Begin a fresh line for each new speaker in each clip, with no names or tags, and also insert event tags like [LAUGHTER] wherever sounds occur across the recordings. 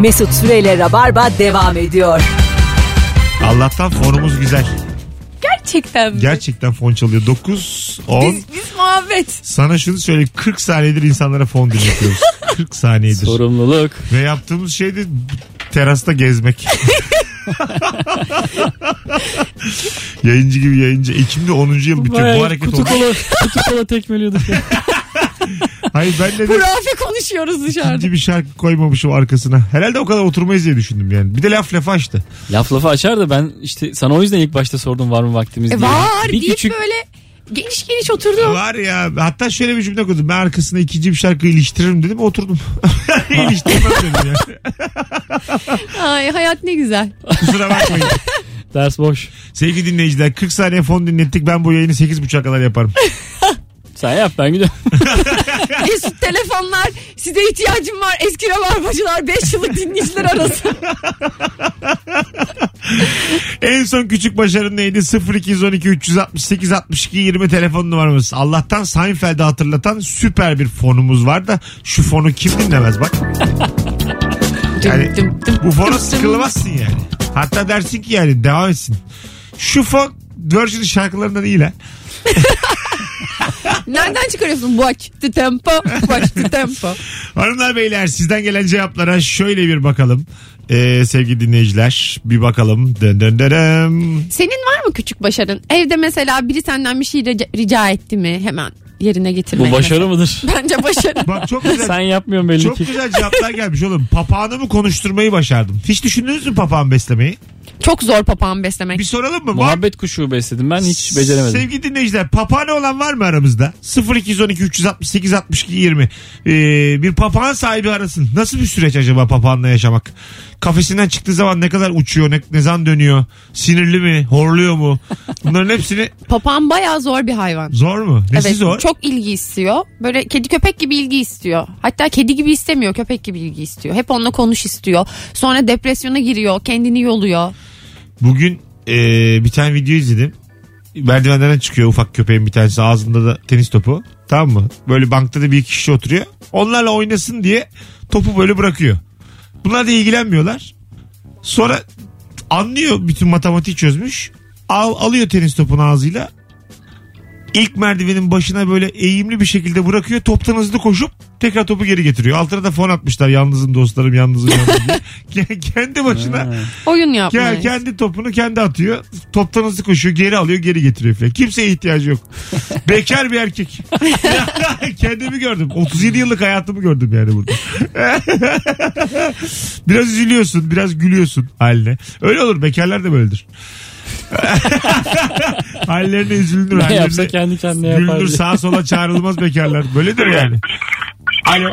Mesut Süreyle Rabarba devam ediyor.
Allah'tan fonumuz güzel.
Gerçekten mi?
Gerçekten fon çalıyor. 9, 10.
Biz, biz muhabbet.
Sana şunu söyleyeyim. 40 saniyedir insanlara fon
[LAUGHS]
dinletiyoruz. 40 saniyedir.
Sorumluluk.
Ve yaptığımız şey de terasta
[LAUGHS]
gezmek. yayıncı gibi yayıncı. Ekim'de 10. yıl bitiyor.
Bayağı
Bu hareket
kutu
olmuş.
kola, kutu kola tekmeliyorduk ya.
Hayır ben de
Hurafe konuşuyoruz dışarıda.
ikinci bir şarkı koymamışım arkasına. Herhalde o kadar oturmayız diye düşündüm yani. Bir de laf laf açtı.
[LAUGHS] Laf lafı açar da ben işte sana o yüzden ilk başta sordum var mı vaktimiz
E,
diye.
var
bir
deyip
küçük
böyle geniş geniş [LAUGHS] oturdu.
Var ya hatta şöyle bir cümle koydum. Ben arkasına ikinci bir şarkı iliştiririm dedim oturdum. [LAUGHS] İliştirmem dedim ya.
Ay hayat ne [LAUGHS] güzel.
Kusura bakmayın.
ders boş.
Sevgili dinleyiciler 40 saniye fon dinlettik. Ben bu yayını 8.30'a kadar yaparım.
Sen yap ben
[LAUGHS]
gidiyorum.
Mesut telefonlar size ihtiyacım var. Eski rabarbacılar 5 yıllık dinleyiciler arası.
En son küçük başarın neydi? 0212 368 62 20 telefon numaramız. Allah'tan Seinfeld'i hatırlatan süper bir fonumuz var da şu fonu kim dinlemez bak. Yani bu fona sıkılamazsın yani. Hatta dersin ki yani devam etsin. Şu fon Virgin şarkılarından iyi lan.
[LAUGHS] Nereden çıkarıyorsun? Watch the tempo. Watch the tempo.
Hanımlar beyler sizden gelen cevaplara şöyle bir bakalım. Ee, sevgili dinleyiciler bir bakalım. Dön dön dön dön.
Senin var mı küçük başarın? Evde mesela biri senden bir şey rica, rica etti mi? Hemen yerine getirmek.
Bu başarı mıdır?
Bence
[LAUGHS]
başarı.
Bak çok güzel.
Sen yapmıyorsun belli
Çok
ki.
güzel cevaplar gelmiş oğlum. Papağanı mı konuşturmayı başardım? Hiç düşündünüz mü papağan beslemeyi?
Çok zor papağan beslemek.
Bir soralım mı? Var-
Muhabbet kuşu besledim ben hiç beceremedim.
Sevgili dinleyiciler papağanı olan var mı aramızda? 0212 368 62 20. Ee, bir papağan sahibi arasın. Nasıl bir süreç acaba papağanla yaşamak? Kafesinden çıktığı zaman ne kadar uçuyor, ne, ne zaman dönüyor? Sinirli mi, horluyor mu? Bunların hepsini
Papağan bayağı zor bir hayvan.
zor mu? Nesi zor?
Çok ilgi istiyor. Böyle kedi köpek gibi ilgi istiyor. Hatta kedi gibi istemiyor, köpek gibi ilgi istiyor. Hep onunla konuş istiyor. Sonra depresyona giriyor, kendini yoluyor.
Bugün eee, bir tane video izledim. Merdivenlerden çıkıyor ufak köpeğin bir tanesi ağzında da tenis topu. Tamam mı? Böyle bankta da bir iki kişi oturuyor. Onlarla oynasın diye topu böyle bırakıyor. Bunlar da ilgilenmiyorlar. Sonra anlıyor bütün matematiği çözmüş. Al, alıyor tenis topunu ağzıyla. İlk merdivenin başına böyle eğimli bir şekilde bırakıyor. Toptan hızlı koşup tekrar topu geri getiriyor. Altına da fon atmışlar. Yalnızım dostlarım yalnızım yalnızım diye. Kendi başına
Oyun yapmıyor.
ya kendi topunu kendi atıyor. Toptan hızlı koşuyor. Geri alıyor geri getiriyor falan. Kimseye ihtiyacı
[LAUGHS]
yok. Bekar bir erkek. Kendimi gördüm. 37 yıllık hayatımı gördüm yani burada. [LAUGHS] biraz üzülüyorsun. Biraz gülüyorsun haline. Öyle olur. Bekarlar da böyledir. [LAUGHS] hallerine üzülünür.
Ne yapsa
hallerine
kendi kendine yapar.
gülünür.
diye.
Sağa sola çağrılmaz bekarlar. Böyledir yani. Alo.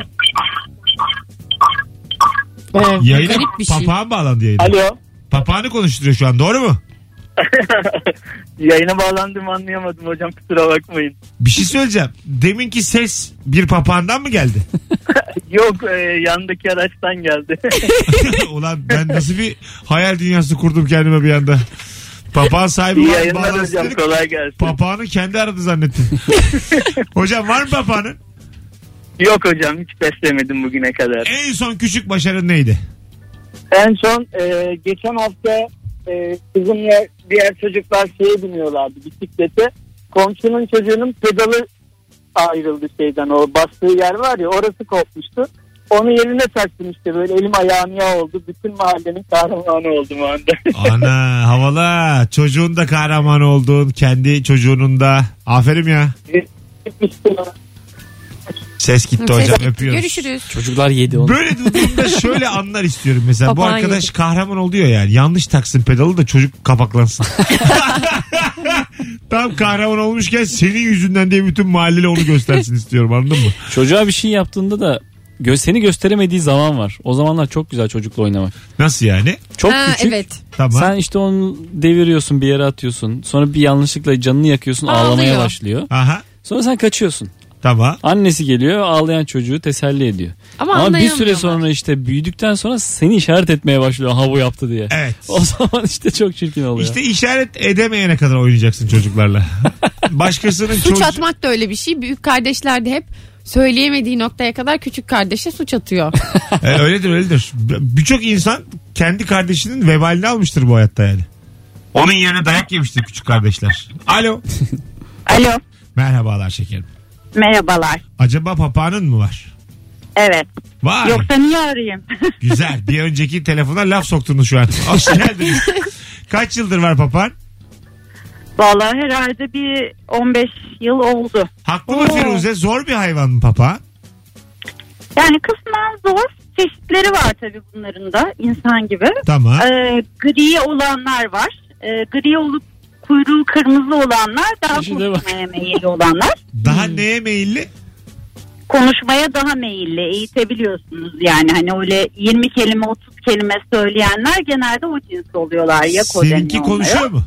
Evet,
Yayına
garip bir şey.
papağan bağlandı yayına.
Alo.
Papağanı konuşturuyor şu an. Doğru mu?
[LAUGHS] Yayına bağlandım anlayamadım hocam kusura bakmayın.
Bir şey söyleyeceğim. Deminki ses bir papağandan mı geldi? [LAUGHS]
Yok e, yandaki araçtan geldi.
Ulan ben nasıl bir hayal dünyası kurdum kendime bir anda. Papağan sahibi
İyi
var. mı?
yayınlar
Bağlansın
hocam
dedik.
kolay gelsin.
Papağanı kendi aradı
[LAUGHS]
zannettim. hocam var mı papağanın?
Yok hocam hiç beslemedim bugüne kadar.
En son küçük başarın neydi?
En son e, geçen hafta e, kızımla diğer çocuklar şeye biniyorlardı bisiklete. Komşunun çocuğunun pedalı ayrıldı şeyden o bastığı yer var ya orası kopmuştu. Onu yerine taktım işte böyle elim ayağım yağ oldu. Bütün mahallenin kahramanı oldum o anda. [LAUGHS]
Ana havala. Çocuğun da kahraman oldun. Kendi çocuğunun da. Aferin ya. Ses gitti
Ses
hocam
gitti.
öpüyoruz.
Görüşürüz.
Çocuklar yedi onu.
Böyle durduğumda şöyle anlar istiyorum mesela. bu
Papağan
arkadaş
yedik.
kahraman oluyor yani. Yanlış taksın pedalı da çocuk
[LAUGHS]
kapaklansın. Tam kahraman olmuşken senin yüzünden diye bütün mahalleli onu göstersin istiyorum anladın mı?
Çocuğa bir şey yaptığında da gö- seni gösteremediği zaman var. O zamanlar çok güzel çocukla oynamak.
Nasıl yani?
Çok
Ha,
küçük.
evet.
Tamam.
Sen işte onu deviriyorsun bir yere atıyorsun. Sonra bir yanlışlıkla canını yakıyorsun
Ağlıyor.
ağlamaya başlıyor.
Aha.
Sonra sen kaçıyorsun.
Tamam.
Annesi geliyor ağlayan çocuğu teselli ediyor.
Ama,
Ama bir süre
anlayamıyorlar.
sonra işte büyüdükten sonra seni işaret etmeye başlıyor ha bu yaptı diye.
Evet.
O zaman işte çok çirkin oluyor.
İşte işaret edemeyene
[LAUGHS]
kadar oynayacaksın çocuklarla. Başkasının
Suç
çocuğu-
atmak da öyle bir şey. Büyük kardeşler de hep söyleyemediği noktaya kadar küçük kardeşe
[LAUGHS]
suç atıyor.
E, öyledir öyledir. Birçok insan kendi kardeşinin vebalini almıştır bu hayatta yani. Onun yerine dayak yemiştir küçük kardeşler. Alo.
Alo.
Merhabalar şekerim.
Merhabalar.
Acaba papağanın mı var?
Evet.
Var.
Yoksa niye arayayım?
[LAUGHS]
[LAUGHS]
Güzel. Bir önceki telefona laf soktunuz şu an. Hoş geldiniz. Kaç yıldır var papağan?
Vallahi herhalde bir 15 yıl oldu.
Haklı mı Firuze? Zor bir hayvan mı papağan?
Yani kısmen zor. Çeşitleri var tabii bunların da insan gibi.
Tamam.
Ee, gri olanlar var. Ee, gri olup kuyruğu kırmızı olanlar daha
Çeşide bak.
konuşmaya meyilli olanlar.
Daha neye meyilli?
Konuşmaya daha meyilli eğitebiliyorsunuz yani hani öyle 20 kelime 30 kelime söyleyenler genelde o cins oluyorlar ya ko deniyor
Seninki
onlara.
konuşuyor mu?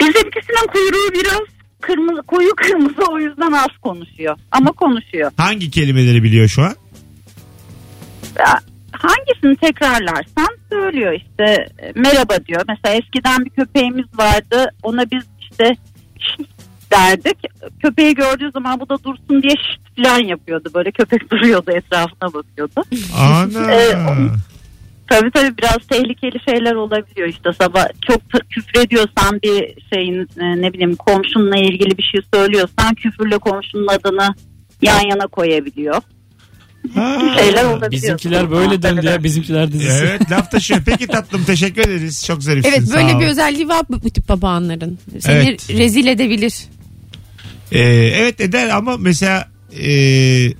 Bizimkisinin kuyruğu biraz kırmızı koyu kırmızı o yüzden az konuşuyor ama konuşuyor.
Hangi kelimeleri biliyor şu an?
Ya, hangisini tekrarlarsan söylüyor işte e, merhaba diyor. Mesela eskiden bir köpeğimiz vardı ona biz işte şşt derdik. Köpeği gördüğü zaman bu da dursun diye şşt falan yapıyordu. Böyle köpek [LAUGHS] duruyordu etrafına bakıyordu. Ee,
Ana.
Tabii tabii biraz tehlikeli şeyler olabiliyor işte sabah çok t- küfrediyorsan bir şeyin e, ne bileyim komşunla ilgili bir şey söylüyorsan küfürle komşunun adını yan yana koyabiliyor.
Ha.
Şeyler olabiliyor.
Bizimkiler böyle döndü ya bizimkiler dizisi.
Evet laf taşıyor. Peki tatlım teşekkür ederiz. Çok zarifsin.
evet
sağ
böyle
ol.
bir özelliği var bu, bu tip papağanların. Seni
Evet.
rezil edebilir.
Ee, evet eder ama mesela e,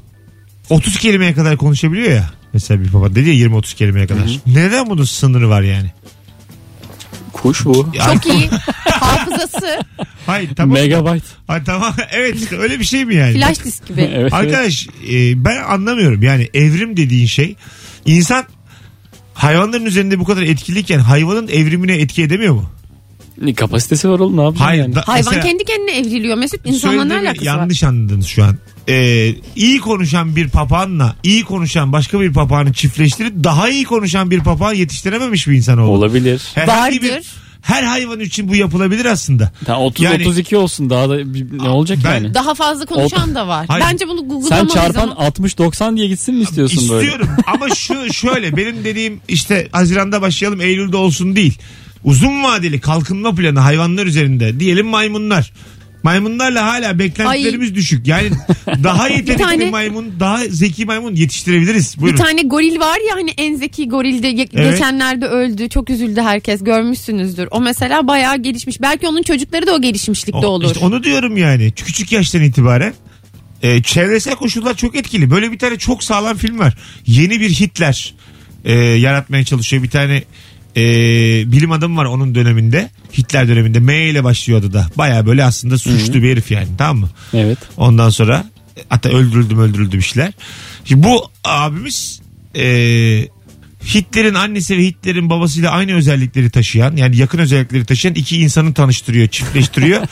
30 kelimeye kadar konuşabiliyor ya. Mesela bir baba dedi ya 20-30 kelimeye kadar. Neden bunun sınırı var yani?
Kuş bu.
Ya- [LAUGHS]
Çok iyi. Hafızası.
Hayır tamam.
Megabyte.
Ha, tamam. [LAUGHS] Evet işte öyle bir şey mi yani?
Flash disk gibi.
[LAUGHS] Evet, evet.
Arkadaş e, ben anlamıyorum yani evrim dediğin şey insan hayvanların üzerinde bu kadar etkiliyken hayvanın evrimine etki edemiyor mu?
Kapasitesi var oğlum ne yapacaksın yani?
da-
Hayvan
mesela-
kendi kendine evriliyor. Mesut insanla ne
Söylediğimi
alakası var?
yanlış anladınız şu an. Ee, iyi konuşan bir papağanla iyi konuşan başka bir papağanı çiftleştirip daha iyi konuşan bir papağan yetiştirememiş bir insan oldu.
Olabilir.
Herhangi bir-
Vardır.
her hayvan için bu yapılabilir aslında.
Ta 30
Yani-
32 olsun daha da bir- ne olacak
Ben-
yani?
Daha fazla konuşan da var.
Hayır.
Bence bunu
Sen
Google'lamalıyız
çarpan
ama.
60 90 diye gitsin mi istiyorsun böyle?
İstiyorum ama şu şöyle benim dediğim işte Haziran'da başlayalım Eylül'de olsun değil. Uzun vadeli kalkınma planı hayvanlar üzerinde diyelim maymunlar. Maymunlarla hala beklentilerimiz düşük. Yani daha yetenekli
tane-
maymun, daha zeki maymun yetiştirebiliriz. Buyurun.
Bir tane goril var ya hani en zeki goril de ge-
Evet.
geçenlerde öldü. Çok üzüldü herkes. Görmüşsünüzdür. O mesela bayağı gelişmiş. Belki onun çocukları da o
O-
gelişmişlikte olur.
işte onu diyorum yani. Küçük yaştan itibaren e, çevresel koşullar çok etkili. Böyle bir tane çok sağlam film var. Yeni bir Hitler e, yaratmaya çalışıyor. Bir tane e, bilim adamı var onun döneminde. Hitler döneminde. M ile başlıyor adı da. Baya böyle aslında suçlu bir herif yani. Tamam mı?
Evet.
Ondan sonra e, hatta öldürüldüm öldürüldü bir şeyler. Şimdi bu abimiz e, Hitler'in annesi ve Hitler'in babasıyla aynı özellikleri taşıyan yani yakın özellikleri taşıyan iki insanı tanıştırıyor, çiftleştiriyor.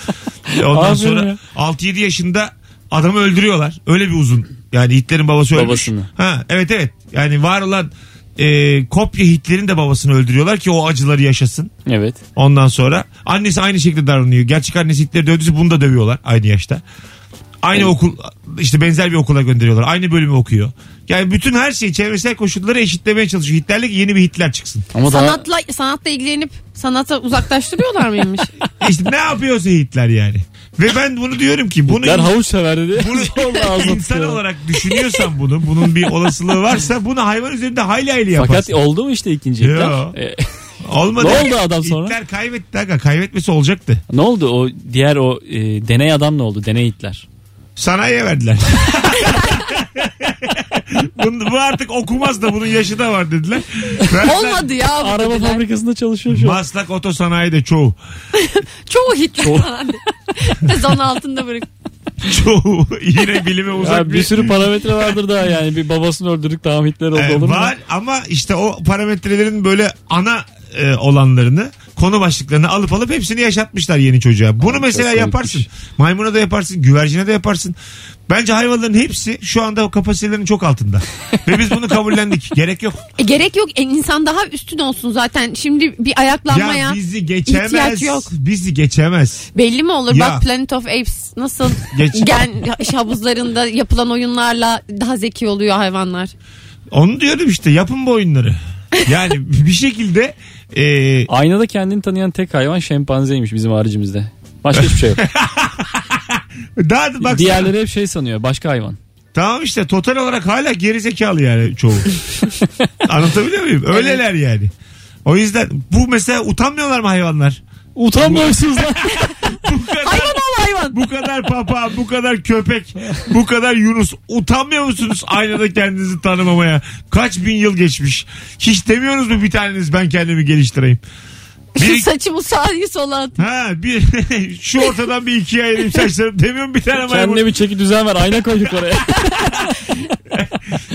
E, Ondan
Aferin
sonra
ya.
6-7 yaşında adamı öldürüyorlar. Öyle bir uzun. Yani Hitler'in babası ölmüş.
Babasını.
Ha, evet evet. Yani var olan e, kopya Hitler'in de babasını öldürüyorlar ki o acıları yaşasın.
Evet.
Ondan sonra annesi aynı şekilde davranıyor. Gerçek annesi Hitler'i dövdüyse bunu da dövüyorlar aynı yaşta. Aynı okul işte benzer bir okula gönderiyorlar. Aynı bölümü okuyor. Yani bütün her şeyi çevresel koşulları eşitlemeye çalışıyor. Hitler'le ki yeni bir Hitler çıksın.
Ama daha
Sanatla sanatla ilgilenip sanata uzaklaştırıyorlar mıymış?
[LAUGHS] İşte ne yapıyorsa Hitler yani. Ve ben bunu diyorum ki bunu
ben havuç sever dedi. [LAUGHS]
bunu
Zorla ağzına
[LAUGHS] insan
tutuyor.
olarak düşünüyorsan bunu bunun bir olasılığı varsa bunu hayvan üzerinde hayli hayli
Fakat
yaparsın.
oldu mu işte ikinci
Yo.
Hitler? E,
Olmadı.
Ne oldu adam sonra?
Hitler kaybetti. Aga, kaybetmesi olacaktı.
ne oldu o diğer o e, deney adam ne oldu? Deney Hitler.
Sanayiye verdiler. [LAUGHS] Bunu, bu artık okumaz da bunun yaşı da var dediler. Verdiler.
Olmadı ya. bu
Araba
dediler.
fabrikasında çalışıyor şu an.
Maslak Otosanayi de çoğu.
Çoğu Hitler
Çoğu-
falan. [LAUGHS] Zan altında bırak.
Çoğu [LAUGHS] yine bilime uzak
Ya bir sürü parametre vardır daha yani. Bir babasını öldürdük tamam Hitler oldu
Ee,
olur mu?
var ama işte o parametrelerin böyle ana e, olanlarını konu başlıklarını alıp alıp hepsini yaşatmışlar yeni çocuğa. Bunu mesela
çok
yaparsın. Maymuna da yaparsın, güvercine de yaparsın. Bence hayvanların hepsi şu anda o kapasitelerin çok altında. Ve biz bunu kabullendik. Gerek yok.
E, gerek yok. E, insan daha üstün olsun zaten. Şimdi bir ayaklanmaya
Ya bizi
ihtiyaç
geçemez.
yok.
Bizi geçemez.
belli mi olur?
Ya.
Bak Planet of Apes nasıl
Geç-
gen havuzlarında yapılan oyunlarla daha zeki oluyor hayvanlar.
Onu diyorum işte yapın bu oyunları. Yani [LAUGHS] bir şekilde e,
Aynada kendini tanıyan tek hayvan şempanzeymiş bizim haricimizde. Başka hiçbir şey yok.
daha da bak
Diğerleri hep şey sanıyor. Başka hayvan.
tamam işte total olarak hala gerizekalı yani çoğu. Anlatabiliyor muyum? Öyleler yani. O yüzden bu mesela utanmıyorlar mı hayvanlar?
Utanmıyorsunuz lan. [LAUGHS]
Bu kadar, hayvan. Bu kadar papa, bu kadar köpek, bu kadar Yunus. Utanmıyor musunuz aynada kendinizi tanımamaya? Kaç bin yıl geçmiş. Hiç demiyorsunuz mu bir taneniz ben kendimi geliştireyim? Bir-
[LAUGHS] Saçımı sağa sola at.
Ha bir [LAUGHS] şu ortadan bir ikiye ayırayım saçlarım demiyorum bir tane maymun.
Kendine bir çeki düzen ver. Ayna koyduk oraya.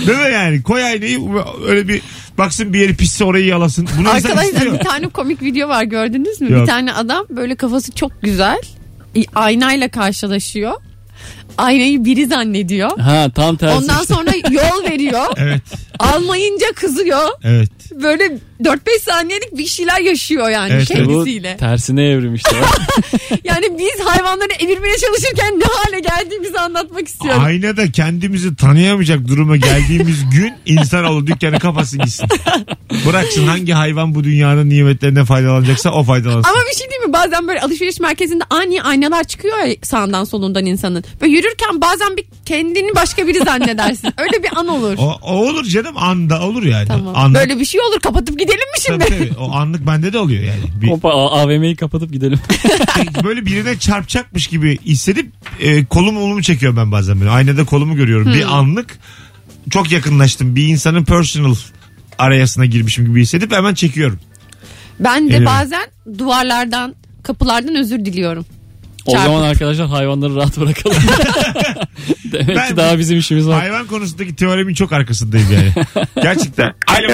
Değil mi yani? Koy aynayı öyle bir baksın bir yeri pisse orayı yalasın. Bunu insan
Arkadaşlar
istiyor.
bir tane komik video var gördünüz mü?
Yok.
Bir tane adam böyle kafası çok güzel i- aynayla karşılaşıyor. Aynayı biri zannediyor.
[LAUGHS] ha tam tersi.
Ondan
işte.
sonra yol veriyor.
Evet
Almayınca kızıyor.
evet.
Böyle 4-5 saniyelik bir şeyler yaşıyor yani
Evet,
İşte bu
kendisiyle.
tersine evrilmişti.
Yani biz hayvanları evirmeye çalışırken ne hale geldiğimizi anlatmak istiyorum.
Aynada kendimizi tanıyamayacak duruma geldiğimiz [LAUGHS] gün insanoğlu dükkanı kafasını gitsin. Bıraksın hangi hayvan bu dünyanın nimetlerinden faydalanacaksa o faydalansın.
Ama bir şey değil mi? Bazen böyle alışveriş merkezinde ani aynalar çıkıyor ya sağından solundan insanın. Böyle yürürken bazen bir kendini başka biri
[LAUGHS]
zannedersin. Öyle bir an olur.
O, o olur canım anda olur yani.
Tamam.
Anlık,
Böyle bir şey olur. Kapatıp gidelim mi şimdi?
Tabii tabii. o anlık bende de oluyor yani. Bir-
Hoppa A- AVM'yi kapatıp gidelim.
böyle birine çarpacakmış gibi hissedip e, kolum olumu çekiyor ben bazen böyle. Aynada kolumu görüyorum. Bir anlık çok yakınlaştım. Bir insanın personal arayasına girmişim gibi hissedip hemen çekiyorum.
Ben de
Evet.
bazen duvarlardan, kapılardan özür diliyorum.
o
Çarpık.
zaman arkadaşlar hayvanları rahat bırakalım. Demek
Ben-
ki daha bizim işimiz var.
Hayvan konusundaki teoremin çok arkasındayım yani. Gerçekten. Alo.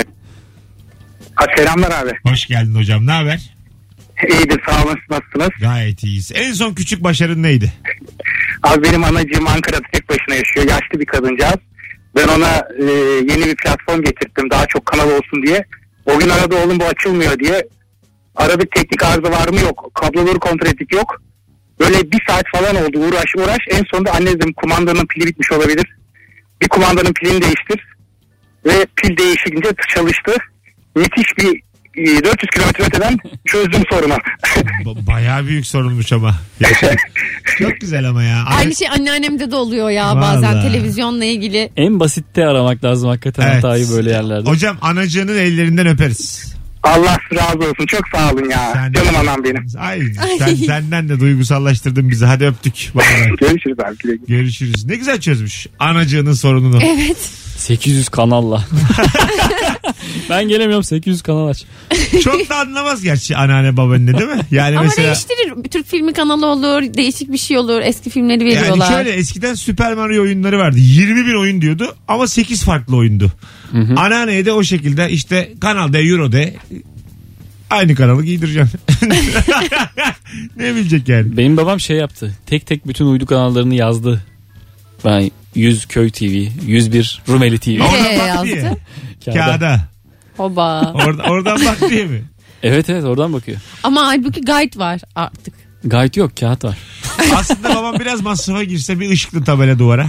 Ha, selamlar abi.
Hoş geldin hocam. Ne haber?
İyidir sağ olun nasılsınız?
Gayet iyiyiz. En son küçük başarın neydi?
Abi benim anacığım Ankara'da tek başına yaşıyor. Yaşlı bir kadıncağız. Ben ona e, yeni bir platform getirttim daha çok kanal olsun diye. O gün aradı oğlum bu açılmıyor diye. Aradık teknik arıza var mı yok. Kabloları kontrol ettik yok. Böyle bir saat falan oldu uğraş uğraş. En sonunda anne dedim kumandanın pili bitmiş olabilir. Bir kumandanın pilini değiştir. Ve pil değişince çalıştı. Müthiş bir e, 400 kilometre öteden çözdüm sorunu. [LAUGHS]
Ba- Bayağı büyük sorulmuş ama. Gerçekten. çok güzel ama ya.
Aynı şey anneannemde de oluyor ya bazen
Vallahi.
televizyonla ilgili.
En basitte aramak lazım hakikaten
Evet.
hatayı böyle yerlerde.
Hocam anacığının ellerinden öperiz.
Allah razı olsun. Çok sağ olun ya.
Sen de-
Canım anam benim.
Ay, sen, senden de duygusallaştırdın bizi. Hadi öptük. Bay bay.
[LAUGHS] Görüşürüz abi. güle güle.
Görüşürüz. Ne güzel çözmüş anacığının sorununu.
Evet.
800 kanalla. [LAUGHS] ben gelemiyorum 800 kanal aç.
Çok da anlamaz gerçi anneanne babaanne
[LAUGHS]
değil mi? Yani
Ama
mesela
değiştirir. Türk filmi kanalı olur, değişik bir şey olur. Eski filmleri
yani
veriyorlar.
şöyle eskiden Super Mario oyunları vardı. 20 bin oyun diyordu ama 8 farklı oyundu. Anneanneye de o şekilde işte kanal de euro de aynı kanalı giydireceğim. [LAUGHS] ne bilecek yani?
Benim babam şey yaptı. Tek tek bütün uydu kanallarını yazdı. Ben 100 Köy TV, 101 Rumeli TV.
Oh.
Oradan
Nereye
bak diye.
yazdı?
Kağıda.
Kağıda.
Hoba.
Orada, oradan bak diye mi?
Evet evet oradan bakıyor.
Ama halbuki guide var artık.
Gayet yok kağıt var.
Aslında babam biraz masrafa girse bir ışıklı tabela duvara.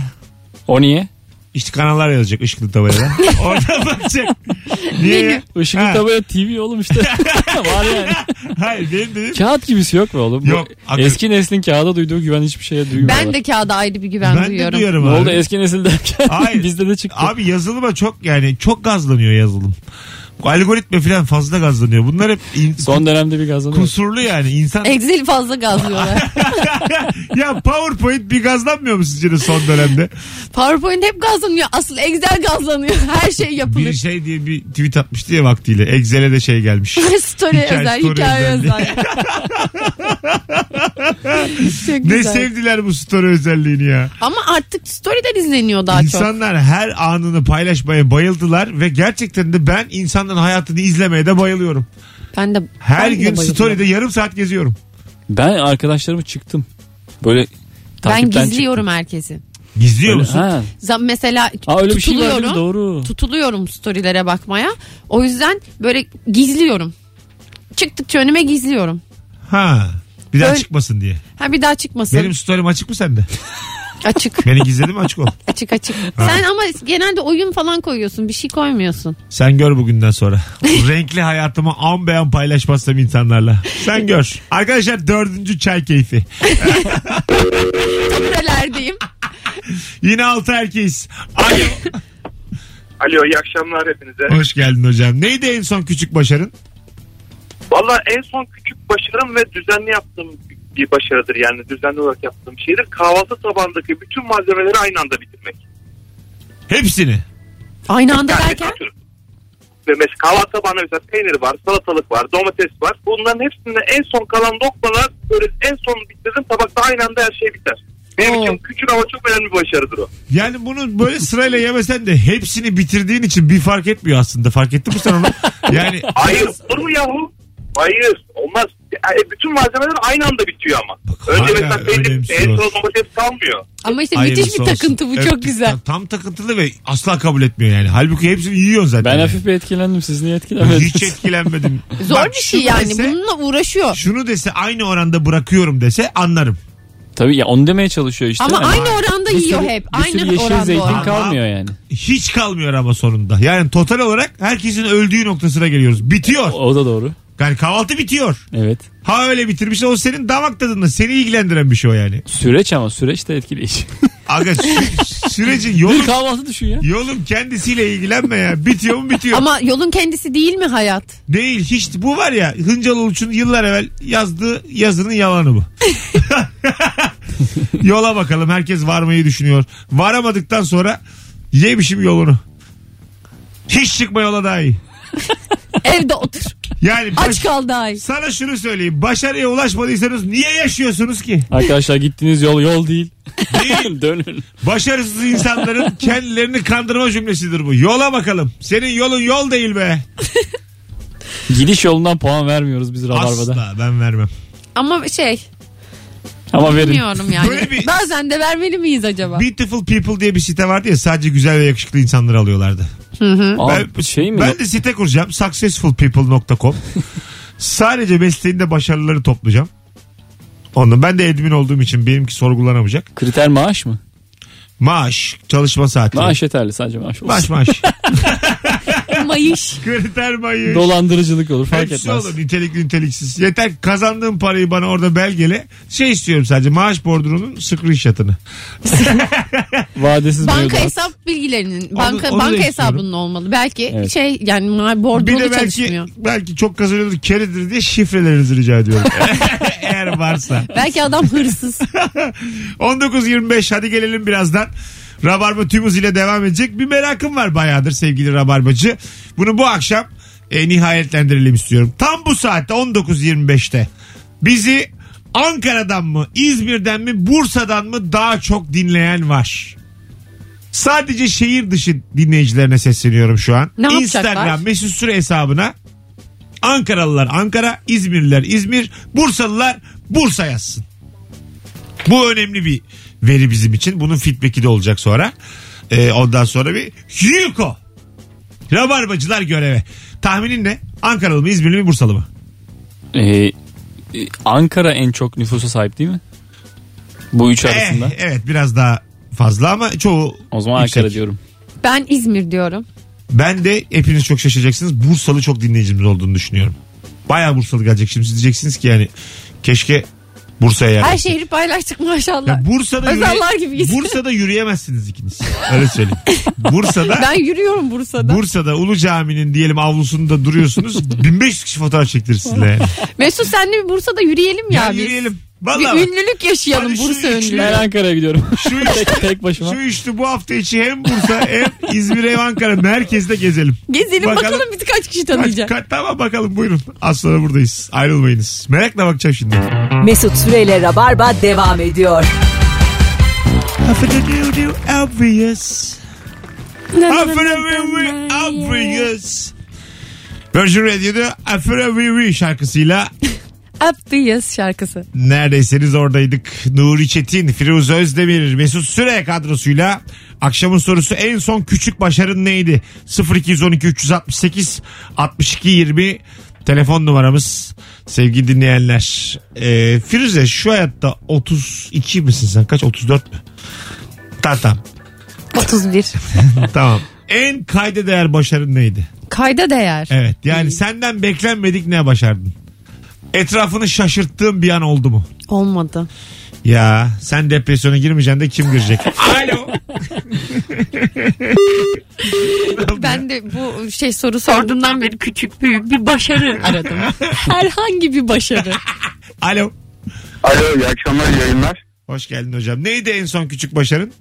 O niye?
İşte kanallar yazacak ışıklı
[LAUGHS]
tabelada. Orada bakacak. Niye? ya?
Işıklı
Ha,
tabela TV
[LAUGHS]
oğlum işte. var yani.
Hayır benim de
Kağıt gibisi yok mu oğlum? Bu
Yok, hakikaten.
Eski neslin kağıda duyduğu güven hiçbir şeye duymuyorlar.
Ben de kağıda ayrı bir güven
ben, de
duyuyorum.
duyuyorum
Ne
abi.
oldu eski nesil derken
Hayır.
[LAUGHS] bizde de çıktı.
Abi yazılıma çok yani çok gazlanıyor yazılım. Bu Algoritma falan fazla gazlanıyor. Bunlar hep in-
Son dönemde bir kazanıyor.
kusurlu yani insan.
Excel fazla gazlıyorlar.
[LAUGHS] ya PowerPoint bir gazlanmıyor mu sizce de son dönemde?
PowerPoint hep gazlanıyor. Asıl Excel gazlanıyor. Her şey
bir
yapılır.
şey diye bir tweet atmıştı ya vaktiyle. Excel'e de şey gelmiş.
story
Hikaye,
özel,
story
hikaye
özel.
özel. [LAUGHS] Çok
ne
[LAUGHS] güzel.
sevdiler bu story özelliğini ya.
Ama artık story'den izleniyor daha çok.
İnsanlar her anını paylaşmaya bayıldılar ve gerçekten de ben insanların hayatını izlemeye de bayılıyorum.
Ben de
Her
ben de
gün
bayılıyorum.
story'de yarım saat geziyorum.
Ben arkadaşlarımı çıktım. Böyle
Ben
takipten
gizliyorum herkesi.
Gizliyor
çıktım.
musun?
Ha.
Za- Mesela
Aa, öyle bir şey var
tutuluyorum.
değil mi? Doğru.
tutuluyorum storylere bakmaya. O yüzden böyle gizliyorum. Çıktıkça önüme gizliyorum.
Ha. Bir daha
Öyle-
çıkmasın diye.
Ha bir daha çıkmasın.
Benim story'm açık mı sende?
Açık
Beni gizledin mi açık ol.
açık açık. Sen ama genelde oyun falan koyuyorsun. Bir şey koymuyorsun.
Sen gör bugünden sonra.
[LAUGHS]
Renkli hayatımı an beyan paylaşmazsam insanlarla. Sen gör. Arkadaşlar dördüncü çay keyfi.
Nerelerdeyim?
Yine altı erkeğiz. Alo.
Alo iyi akşamlar hepinize.
Hoş geldin hocam. Neydi en son küçük başarın?
Valla en son küçük başarım ve düzenli yaptığım bir başarıdır yani düzenli olarak yaptığım şeydir. Kahvaltı tabağındaki bütün malzemeleri aynı anda bitirmek.
Hepsini.
Aynı anda
Yani
derken
atıyorum. Ve mesela kahvaltı tabağında mesela peynir var, salatalık var, domates var. Bunların hepsinde en son kalan lokmalar böyle en son bitirdim tabakta aynı anda her şey biter. Benim
Oo.
için küçük ama çok önemli bir başarıdır o.
Yani bunu böyle sırayla yemesen de hepsini bitirdiğin için bir fark etmiyor aslında. Fark ettin mi sen onu?
[LAUGHS]
Yani
Hayır olur mu yahu? Hayır olmaz. E, bütün malzemeler aynı anda bitiyor ama.
Bak,
Önce
hala
mesela peynir,
önemsi
en
var.
son domates kalmıyor.
ama işte
ayrılısı
müthiş bir
olsun.
takıntı bu
Evet,
çok güzel.
Tam, tam takıntılı ve asla kabul etmiyor yani. Halbuki hepsini yiyorsun zaten.
Ben
yani.
hafif bir etkilendim. Siz niye etkilenmediniz?
Hiç etkilenmedim.
Zor
Bak
bir şey
şunu
yani.
dese-
Bununla uğraşıyor.
şunu dese aynı oranda bırakıyorum dese anlarım.
[LAUGHS] Tabii ya onu demeye çalışıyor işte.
Ama
Yani
aynı oranda
bir sürü-
yiyor hep.
Bir sürü
Aynı
yeşil
oranda.
zeytin
olan.
kalmıyor yani.
Hiç kalmıyor ama sonunda. Yani total olarak herkesin öldüğü noktasına geliyoruz. Bitiyor.
O, o da doğru.
Yani kahvaltı bitiyor.
Evet.
Ha öyle bitirmiş o senin damak tadında seni ilgilendiren bir şey o yani.
Süreç ama süreç de etkileyici.
Aga
[LAUGHS]
sü- sürecin yolu
bir [LAUGHS] kahvaltı düşün ya.
Yolun kendisiyle ilgilenme ya. Bitiyor mu bitiyor.
Ama yolun kendisi değil mi hayat?
Değil hiç. Bu var ya Hıncal Uluç'un yıllar evvel yazdığı yazının yalanı bu.
[LAUGHS]
Yola bakalım herkes varmayı düşünüyor. Varamadıktan sonra yemişim yolunu. Hiç çıkma yola daha iyi. [LAUGHS]
Evde otur.
Yani baş-
Aç kal daha iyi.
sana şunu söyleyeyim. Başarıya ulaşmadıysanız niye yaşıyorsunuz ki?
Arkadaşlar gittiğiniz yol yol değil.
Değil.
[LAUGHS] Dönün.
Başarısız
[LAUGHS]
insanların kendilerini kandırma cümlesidir bu. Yola bakalım. Senin yolun yol değil be.
Gidiş yolundan puan vermiyoruz biz Rabarba'da.
Asla ben vermem.
Ama şey
Ama verin.
bilmiyorum yani.
Böyle bir-
Bazen de vermeli miyiz acaba?
Beautiful People diye bir site vardı ya sadece güzel ve yakışıklı insanları alıyorlardı.
Aa, şey mi?
Ben de site kuracağım.
[LAUGHS]
Successfulpeople.com Sadece mesleğinde başarıları toplayacağım. Ondan ben de admin olduğum için benimki sorgulanamayacak.
Kriter maaş mı?
Maaş, çalışma saati.
Maaş yeterli sadece maaş. olsun.
Maaş maaş.
[LAUGHS]
Mayış.
Kriter maaş.
Dolandırıcılık olur fark
Hepsi
etmez.
olur nitelikli niteliksiz. Yeter ki kazandığım parayı bana orada belgele. Şey istiyorum sadece maaş bordronun screenshot'ını.
Vadesiz
Banka
mevduat.
hesap bilgilerinin banka
onu da
banka
istiyorum.
hesabının olmalı. Belki
Evet.
şey yani ma-
Bir
bordrolu
de belki,
çalışmıyor.
belki çok kazanıyordur keredir diye şifrelerinizi rica
[LAUGHS]
ediyorum. Eğer varsa.
Belki adam
[LAUGHS]
hırsız.
19.25 hadi gelelim birazdan. Rabarba tüm ile devam edecek. Bir merakım var bayağıdır sevgili Rabarbacı. Bunu bu akşam e, nihayetlendirelim istiyorum. Tam bu saatte 19.25'te bizi Ankara'dan mı, İzmir'den mi, Bursa'dan mı daha çok dinleyen var? Sadece şehir dışı dinleyicilerine sesleniyorum şu an.
Ne yapacaklar?
Instagram mesut süre hesabına Ankaralılar Ankara, İzmirliler İzmir, Bursalılar Bursa yazsın. Bu önemli bir veri bizim için. Bunun feedback'i de olacak sonra. Ee, ondan sonra bir Yuko. Rabarbacılar göreve. Tahminin ne? Ankaralı mı, İzmirli mi, Bursalı mı?
Ee, e, Ankara en çok nüfusa sahip değil mi? Bu üç arasında.
Eh, evet biraz daha fazla ama çoğu
o zaman
yüksek.
Ankara diyorum.
ben İzmir diyorum.
Ben de hepiniz çok şaşıracaksınız. Bursalı çok dinleyicimiz olduğunu düşünüyorum. Bayağı Bursalı gelecek. Şimdi siz diyeceksiniz ki yani keşke Bursa'ya yer
Her şey
versek.
şehri paylaştık maşallah.
Ya Bursa'da,
Özellar gibiyiz.
Bursa'da yürüyemezsiniz ikiniz. Öyle
[LAUGHS]
söyleyeyim. Bursa'da
ben yürüyorum Bursa'da.
Bursa'da Ulu Cami'nin diyelim avlusunda
[LAUGHS]
duruyorsunuz. 1500 kişi fotoğraf çektirir sizinle. Yani.
Mesut senle bir Bursa'da yürüyelim ya,
Ya
biz.
yürüyelim.
Bir
Vallahi bak,
ünlülük yaşayalım
Hadi şu
Bursa
üçlü-
ünlülüğü.
Ben
[LAUGHS]
Ankara'ya gidiyorum.
şu
tek,
üçlü,
tek başıma.
şu üçlü bu hafta içi hem
[LAUGHS]
Bursa hem İzmir hem Ankara merkezde gezelim.
Gezelim bakalım,
Bakalım
biz kaç kişi
Kaç,
tanıyacak.
kaç- tamam bakalım buyurun. Az sonra buradayız. Ayrılmayınız. Merakla bakacağım şimdi.
Mesut Süreyle Rabarba devam ediyor.
Afidododo obvious. Afidododo obvious. Virgin Radio'da Afra Wee Wee şarkısıyla
Up the Yes şarkısı.
neredeyseniz oradaydık. Nuri Çetin, Firuze Özdemir, Mesut Süre kadrosuyla akşamın sorusu en son küçük başarın neydi? 0212 368 62 20 telefon numaramız sevgili dinleyenler. Ee, Firuze şu hayatta 32 misin sen? Kaç 34 mü? Tamam tamam. [LAUGHS]
31.
tamam. En kayda değer başarın neydi?
Kayda değer.
Evet yani senden beklenmedik ne başardın? Etrafını şaşırttığın bir an oldu mu?
Olmadı.
Ya sen depresyona girmeyeceksin de kim girecek? [LAUGHS] Alo.
Ben de bu şey soru sorduğumdan beri küçük büyük bir başarı
[LAUGHS]
aradım. Herhangi bir başarı.
Alo.
Alo iyi akşamlar iyi yayınlar.
Hoş geldin hocam. Neydi en son küçük başarın?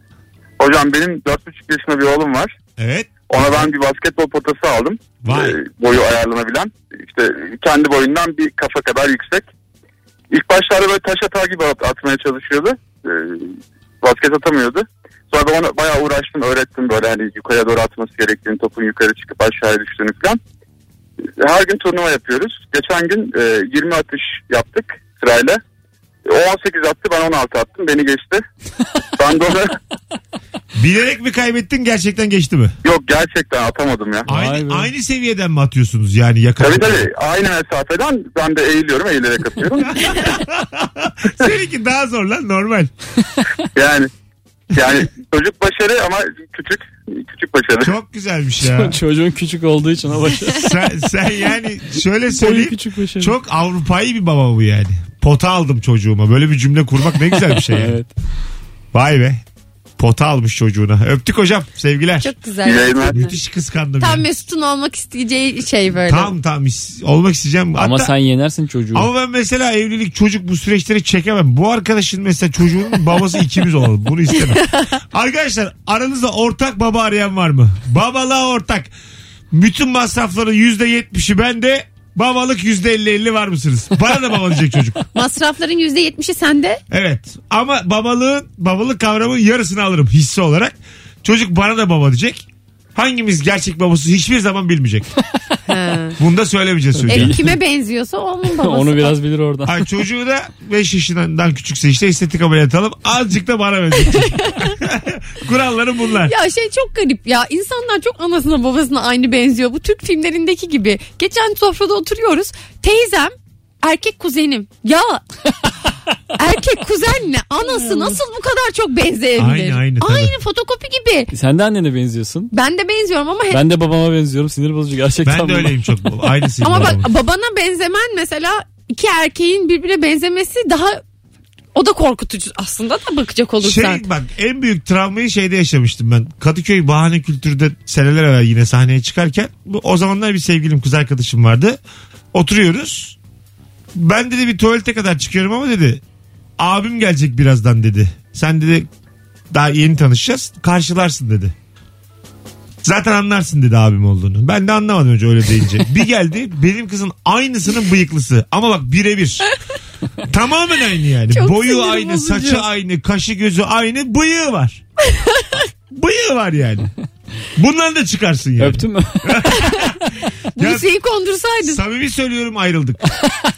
Hocam benim 4,5 yaşında bir oğlum var.
Evet.
Ona ben bir basketbol potası aldım.
Vay.
Ee, boyu ayarlanabilen. İşte kendi boyundan bir kafa kadar yüksek. İlk başlarda böyle taş atar gibi at- atmaya çalışıyordu. Ee, basket atamıyordu. Sonra ben ona bayağı uğraştım öğrettim böyle hani yukarıya doğru atması gerektiğini topun yukarı çıkıp aşağıya düştüğünü falan. Ee, Her gün turnuva yapıyoruz. Geçen gün e, 20 atış yaptık sırayla. E, O 18 attı ben 16 attım beni geçti. ben de ona
Bilerek mi kaybettin gerçekten geçti mi?
yok gerçekten atamadım ya.
Vay
Aynı,
be.
aynı seviyeden mi atıyorsunuz yani yakın?
Tabii tabii aynı mesafeden ben de eğiliyorum eğilerek atıyorum.
Seninki daha zor lan normal.
yani yani çocuk başarı ama küçük küçük başarı.
Çok güzelmiş ya.
Çocuğun küçük olduğu için o başarı.
sen, sen yani şöyle
Boyu
söyleyeyim.
küçük başarı.
Çok Avrupa'yı bir baba bu yani. Pota aldım çocuğuma. Böyle bir cümle kurmak ne güzel bir şey. yani.
Evet.
Vay be. Pota almış çocuğuna. Öptük hocam. Sevgiler.
Çok
İyi
güzel.
yayınlar.
Müthiş kıskandım.
Tam
yani.
Mesut'un olmak isteyeceği şey böyle.
Tam tam is- olmak isteyeceğim.
Ama
Hatta-
sen yenersin çocuğu.
ama ben mesela evlilik çocuk bu süreçleri çekemem. Bu arkadaşın mesela çocuğunun babası ikimiz olalım. Bunu istemem. Arkadaşlar aranızda ortak baba arayan var mı? Babalığa ortak. Bütün masrafların yüzde yetmişi bende. Babalık yüzde elli elli var mısınız? Bana da baba diyecek çocuk.
Masrafların %70'i sende.
Evet. Ama babalığın babalık kavramının yarısını alırım hisse olarak. Çocuk bana da baba diyecek. Hangimiz gerçek babası hiçbir zaman
[LAUGHS]
bilmeyecek. Bunu da söylemeyeceğiz çocuğa.
E, kime
[LAUGHS]
benziyorsa onun babası.
[LAUGHS] Onu biraz bilir oradan.
Ay çocuğu da 5 yaşından küçükse işte estetik ameliyat alalım. Azıcık da bana benzetecek.
[LAUGHS]
[LAUGHS] Kurallarım bunlar.
Ya şey çok garip ya. İnsanlar çok anasına babasına aynı benziyor. Bu Türk filmlerindeki gibi. Geçen sofrada oturuyoruz. Teyzem erkek kuzenim. Ya
[LAUGHS]
erkek kuzenle anası nasıl bu kadar çok benzeyebilir?
Hmm. Aynı, aynı, tabii.
Aynı fotokopi gibi.
Sen de annene benziyorsun.
Ben de benziyorum ama
Ben de babama benziyorum. Sinir bozucu gerçekten.
Ben de
bu.
öyleyim çok. baba. Aynısıyım.
ama
babamın.
bak babana benzemen mesela iki erkeğin birbirine benzemesi daha o da korkutucu aslında da bakacak
Şey
olursan.
bak en büyük travmayı şeyde yaşamıştım ben. Kadıköy Bahane Kültür'de seneler evvel yine sahneye çıkarken bu- o zamanlar bir sevgilim kız arkadaşım vardı. Oturuyoruz. Ben dedi bir tuvalete kadar çıkıyorum ama dedi abim gelecek birazdan dedi. Sen dedi daha yeni tanışacağız karşılarsın dedi. Zaten anlarsın dedi abim olduğunu. Ben de anlamadım önce öyle
[LAUGHS]
deyince. Bir geldi benim kızın aynısının bıyıklısı. Ama bak
[LAUGHS]
birebir. Tamamen aynı yani.
Çok
Boyu
sinirim
aynı,
bozucu.
saçı aynı, kaşı gözü aynı, bıyığı
[LAUGHS]
var. bıyığı var yani. Bundan da çıkarsın yani. [LAUGHS]
Öptün mü?
Bu
Ya-
şeyi kondursaydın.
Samimi söylüyorum ayrıldık.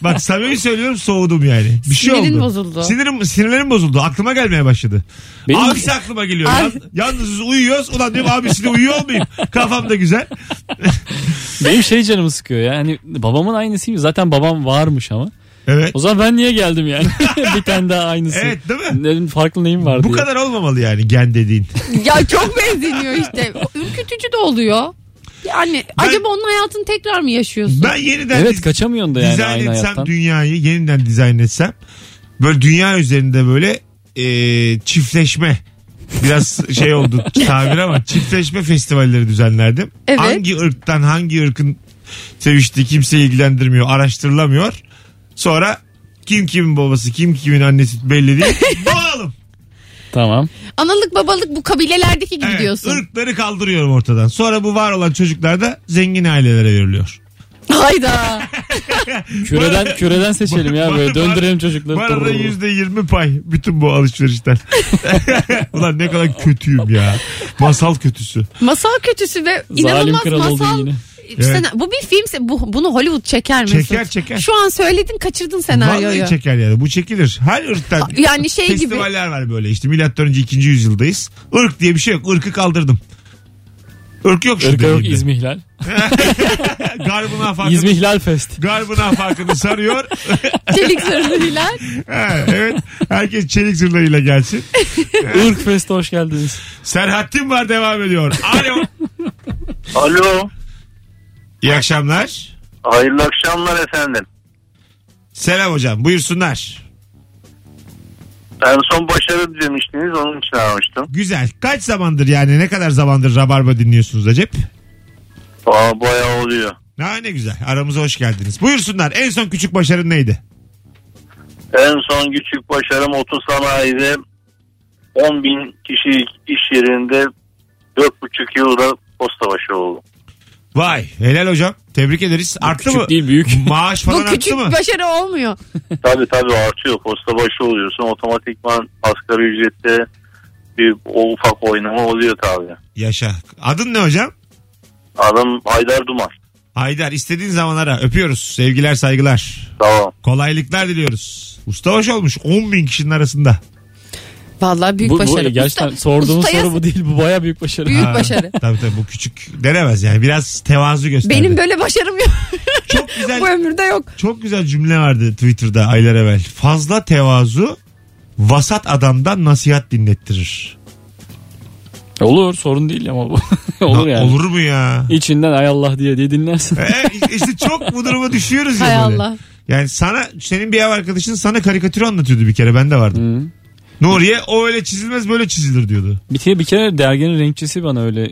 Bak samimi söylüyorum soğudum yani. Bir şey
Sinirin
oldu.
bozuldu.
Sinirim, sinirlerim bozuldu. Aklıma gelmeye başladı.
Benim-
Abisi aklıma geliyor.
Abi-
Yan, yalnızız uyuyoruz. Ulan diyorum abisiyle uyuyor olmayayım. Kafam da güzel.
Benim şey canımı sıkıyor ya. Hani babamın aynısıyım. Zaten babam varmış ama.
Evet.
O zaman ben niye geldim yani? [LAUGHS] bir tane daha aynısı.
Evet değil mi?
Dedim farklı neyim var
Bu
diye.
kadar olmamalı yani gen dediğin.
Ya çok benzeniyor işte. Ürkütücü de oluyor. Yani
Ben-
acaba onun hayatını tekrar mı yaşıyorsun?
Ben yeniden
Evet
diz-
kaçamıyorsun da yani
dizayn
aynı
etsem
hayattan.
dünyayı yeniden dizayn etsem böyle dünya üzerinde böyle e, çiftleşme
[LAUGHS]
biraz şey oldu tabir ama çiftleşme festivalleri düzenlerdim.
Evet.
Hangi ırktan hangi ırkın seviştiği kimse ilgilendirmiyor araştırılamıyor. Sonra kim kimin babası kim kimin annesi belli değil. Doğalım.
Tamam.
Analık babalık bu kabilelerdeki gibi
Evet,
diyorsun.
ırkları kaldırıyorum ortadan. Sonra bu var olan çocuklar da zengin ailelere veriliyor.
Hayda.
Küreden küreden seçelim ya
Bana- [LAUGHS]
böyle döndürelim çocukları.
Bana da
Dururur.
yüzde yirmi pay bütün bu [LAUGHS] alışverişten. Ulan ne kadar kötüyüm ya. Masal kötüsü.
Masal kötüsü ve
Zalim
inanılmaz
kral oldun
masal
yine.
sen- bu bir filmse bu, bunu Hollywood çeker mi?
Çeker, çeker.
Şu an söyledin kaçırdın senaryoyu.
Vallahi çeker yani. Bu çekilir. Her ırktan.
Yani şey gibi.
Festivaller var böyle işte. Milattan önce 2. yüzyıldayız. Irk diye bir şey yok. Irkı kaldırdım. Irk yok şu
Irka yok
dediğimde.
İzmihlal.
[LAUGHS] Garbın afakını, [LAUGHS]
İzmihlal Fest.
garbın afakını sarıyor.
[LAUGHS]
[LAUGHS]
Çelik zırhlı Hilal.
Ha, evet. Herkes çelik zırhlarıyla gelsin.
Irk Fest'e hoş geldiniz.
Serhattin var devam ediyor. Alo.
Alo.
İyi akşamlar.
Hayırlı akşamlar efendim.
Selam hocam. Buyursunlar.
En son başarı demiştiniz onun için aramıştım.
Güzel. Kaç zamandır yani ne kadar zamandır Rabarba dinliyorsunuz Acep?
Aa bayağı oluyor.
Ha, ne güzel. Aramıza hoş geldiniz. Buyursunlar. En son küçük başarın neydi?
En son küçük başarım otosanayide 10 bin kişi iş yerinde 4,5 yılda posta başı oldum.
Vay. Helal hocam. Tebrik ederiz. Arttı
Küçük
mı?
değil büyük.
[LAUGHS] Maaş falan
Bu
arttı
küçük
mı?
başarı olmuyor.
Tabii tabii artıyor. Posta başı oluyorsun. Otomatikman asgari ücrette bir o ufak oynama oluyor tabii.
Yaşa. Adın ne hocam?
Adam Haydar Duman.
Haydar istediğin zaman ara. Öpüyoruz. Sevgiler saygılar.
Tamam.
Kolaylıklar diliyoruz. Usta hoş olmuş. 10 bin kişinin arasında.
Vallahi büyük
bu, bu
başarı.
gerçekten
Usta-
sorduğumuz
ustaya-
soru bu değil. Bu baya büyük başarı.
Büyük
Ha, [LAUGHS]
başarı.
Tabii tabii bu küçük denemez yani. Biraz tevazu gösterdi.
Benim böyle başarım yok.
Çok güzel
[LAUGHS] Bu ömürde yok.
Çok güzel cümle vardı Twitter'da aylar evvel. Fazla tevazu vasat adamdan nasihat dinlettirir.
[LAUGHS] Olur sorun değil ama bu. [LAUGHS] olur
Na-
yani.
Olur mu
[LAUGHS]
ya?
İçinden ay Allah diye diye dinlersin.
e, işte çok bu duruma düşüyoruz ya
Hay
böyle.
Allah.
Yani sana senin bir ev arkadaşın sana karikatür anlatıyordu bir kere ben de vardım.
Hı.
Nuriye o öyle çizilmez böyle çizilir diyordu.
Bir kere, bir kere derginin renkçisi bana öyle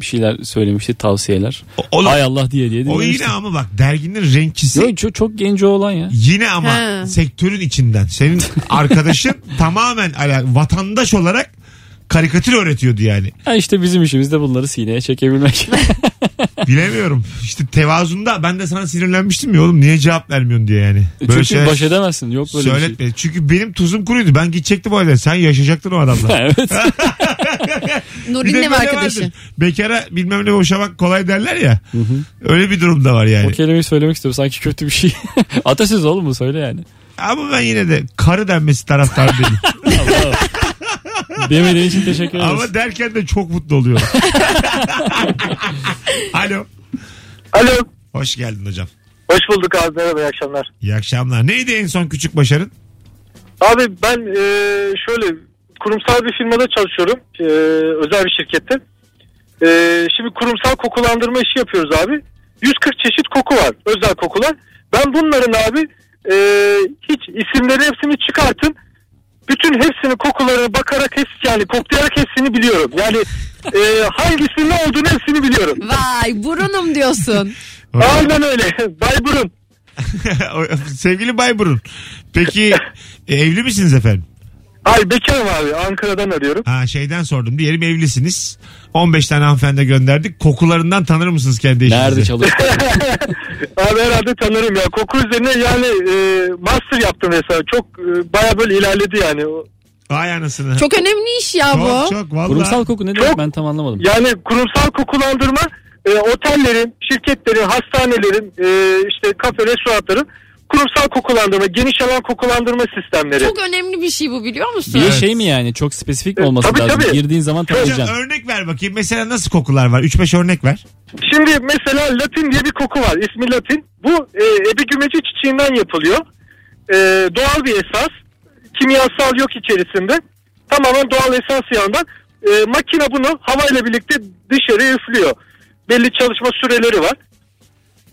bir şeyler söylemişti tavsiyeler.
O, oğlum,
Ay Allah diye diye
o
dinlemiştim.
yine ama bak derginin renkçisi
Yo, çok, çok genç olan ya.
yine ama
Ha.
sektörün içinden.
[LAUGHS]
Senin arkadaşın tamamen ala, vatandaş olarak karikatür öğretiyordu yani.
Ha işte bizim işimiz de bunları
[LAUGHS]
sineye çekebilmek.
Bilemiyorum. İşte tevazunda ben de sana sinirlenmiştim ya oğlum niye cevap vermiyorsun diye yani. Böyle şey
E, Çünkü
şeyler
baş edemezsin. Yok böyle bir şey.
Söyletme. Çünkü benim tuzum kuruydu. Ben gidecektim o halde. Sen yaşayacaktın o
[LAUGHS]
adamla.
[LAUGHS] evet.
Bir de
Nuri'nin ev
böyle
arkadaşı.
vardır. Bekara bilmem ne boşamak kolay derler ya. Öyle bir durumda var yani.
O kelimeyi söylemek istiyorum. Sanki kötü bir şey. [LAUGHS] Atasöz oğlum bu söyle yani.
Ama ben yine de karı denmesi taraftarı
[LAUGHS]
değilim.
Demediğin için teşekkür ederiz.
Ama derken de çok mutlu oluyorum.
[LAUGHS]
Alo.
Alo.
Hoş geldin hocam.
Hoş bulduk abi. Merhaba iyi akşamlar.
İyi akşamlar. Neydi en son küçük başarın?
Abi ben e, şöyle kurumsal bir firmada çalışıyorum. E, özel bir şirkette. E, şimdi kurumsal kokulandırma işi yapıyoruz abi. 140 çeşit koku var. Özel kokular. Ben bunların abi e, hiç isimleri hepsini çıkartın. Bütün hepsini kokularına bakarak hepsi yani koklayarak hepsini biliyorum. Yani e, hangisinin ne olduğunu hepsini biliyorum.
Vay
[LAUGHS]
burunum diyorsun.
Aynen öyle. [LAUGHS] Bay Burun.
[LAUGHS] Sevgili Bayburun. Peki e, evli misiniz efendim?
Ay bekarım abi. Ankara'dan arıyorum.
Ha şeyden sordum. Diyelim evlisiniz. 15 tane hanımefendi gönderdik. Kokularından tanır mısınız kendi eşinizi? [LAUGHS]
Nerede çalıştın?
[LAUGHS] Abi herhalde tanırım ya. Koku üzerine yani e, master yaptım mesela. Çok e, baya böyle ilerledi yani. O-
Vay anasını.
Çok önemli iş ya bu.
çok, çok valla.
Kurumsal koku ne demek ben tam anlamadım.
Yani kurumsal kokulandırma e, otellerin, şirketlerin, hastanelerin, e, işte kafe, restoranların kurumsal kokulandırma, geniş alan kokulandırma sistemleri.
Çok önemli bir şey bu biliyor musun?
Bir
Evet.
şey mi yani? Çok spesifik mi
E,
olması
tabii,
lazım?
tabii.
Girdiğin zaman
Hocam
tanıyacaksın.
örnek ver bakayım. Mesela nasıl kokular var? 3-5 örnek ver.
Şimdi mesela latin diye bir koku var. İsmi latin. Bu e, ebigümeci çiçeğinden yapılıyor. E, doğal bir esas. Kimyasal yok içerisinde. Tamamen doğal esas yandan. E, makine bunu havayla birlikte dışarı üflüyor. Belli çalışma süreleri var.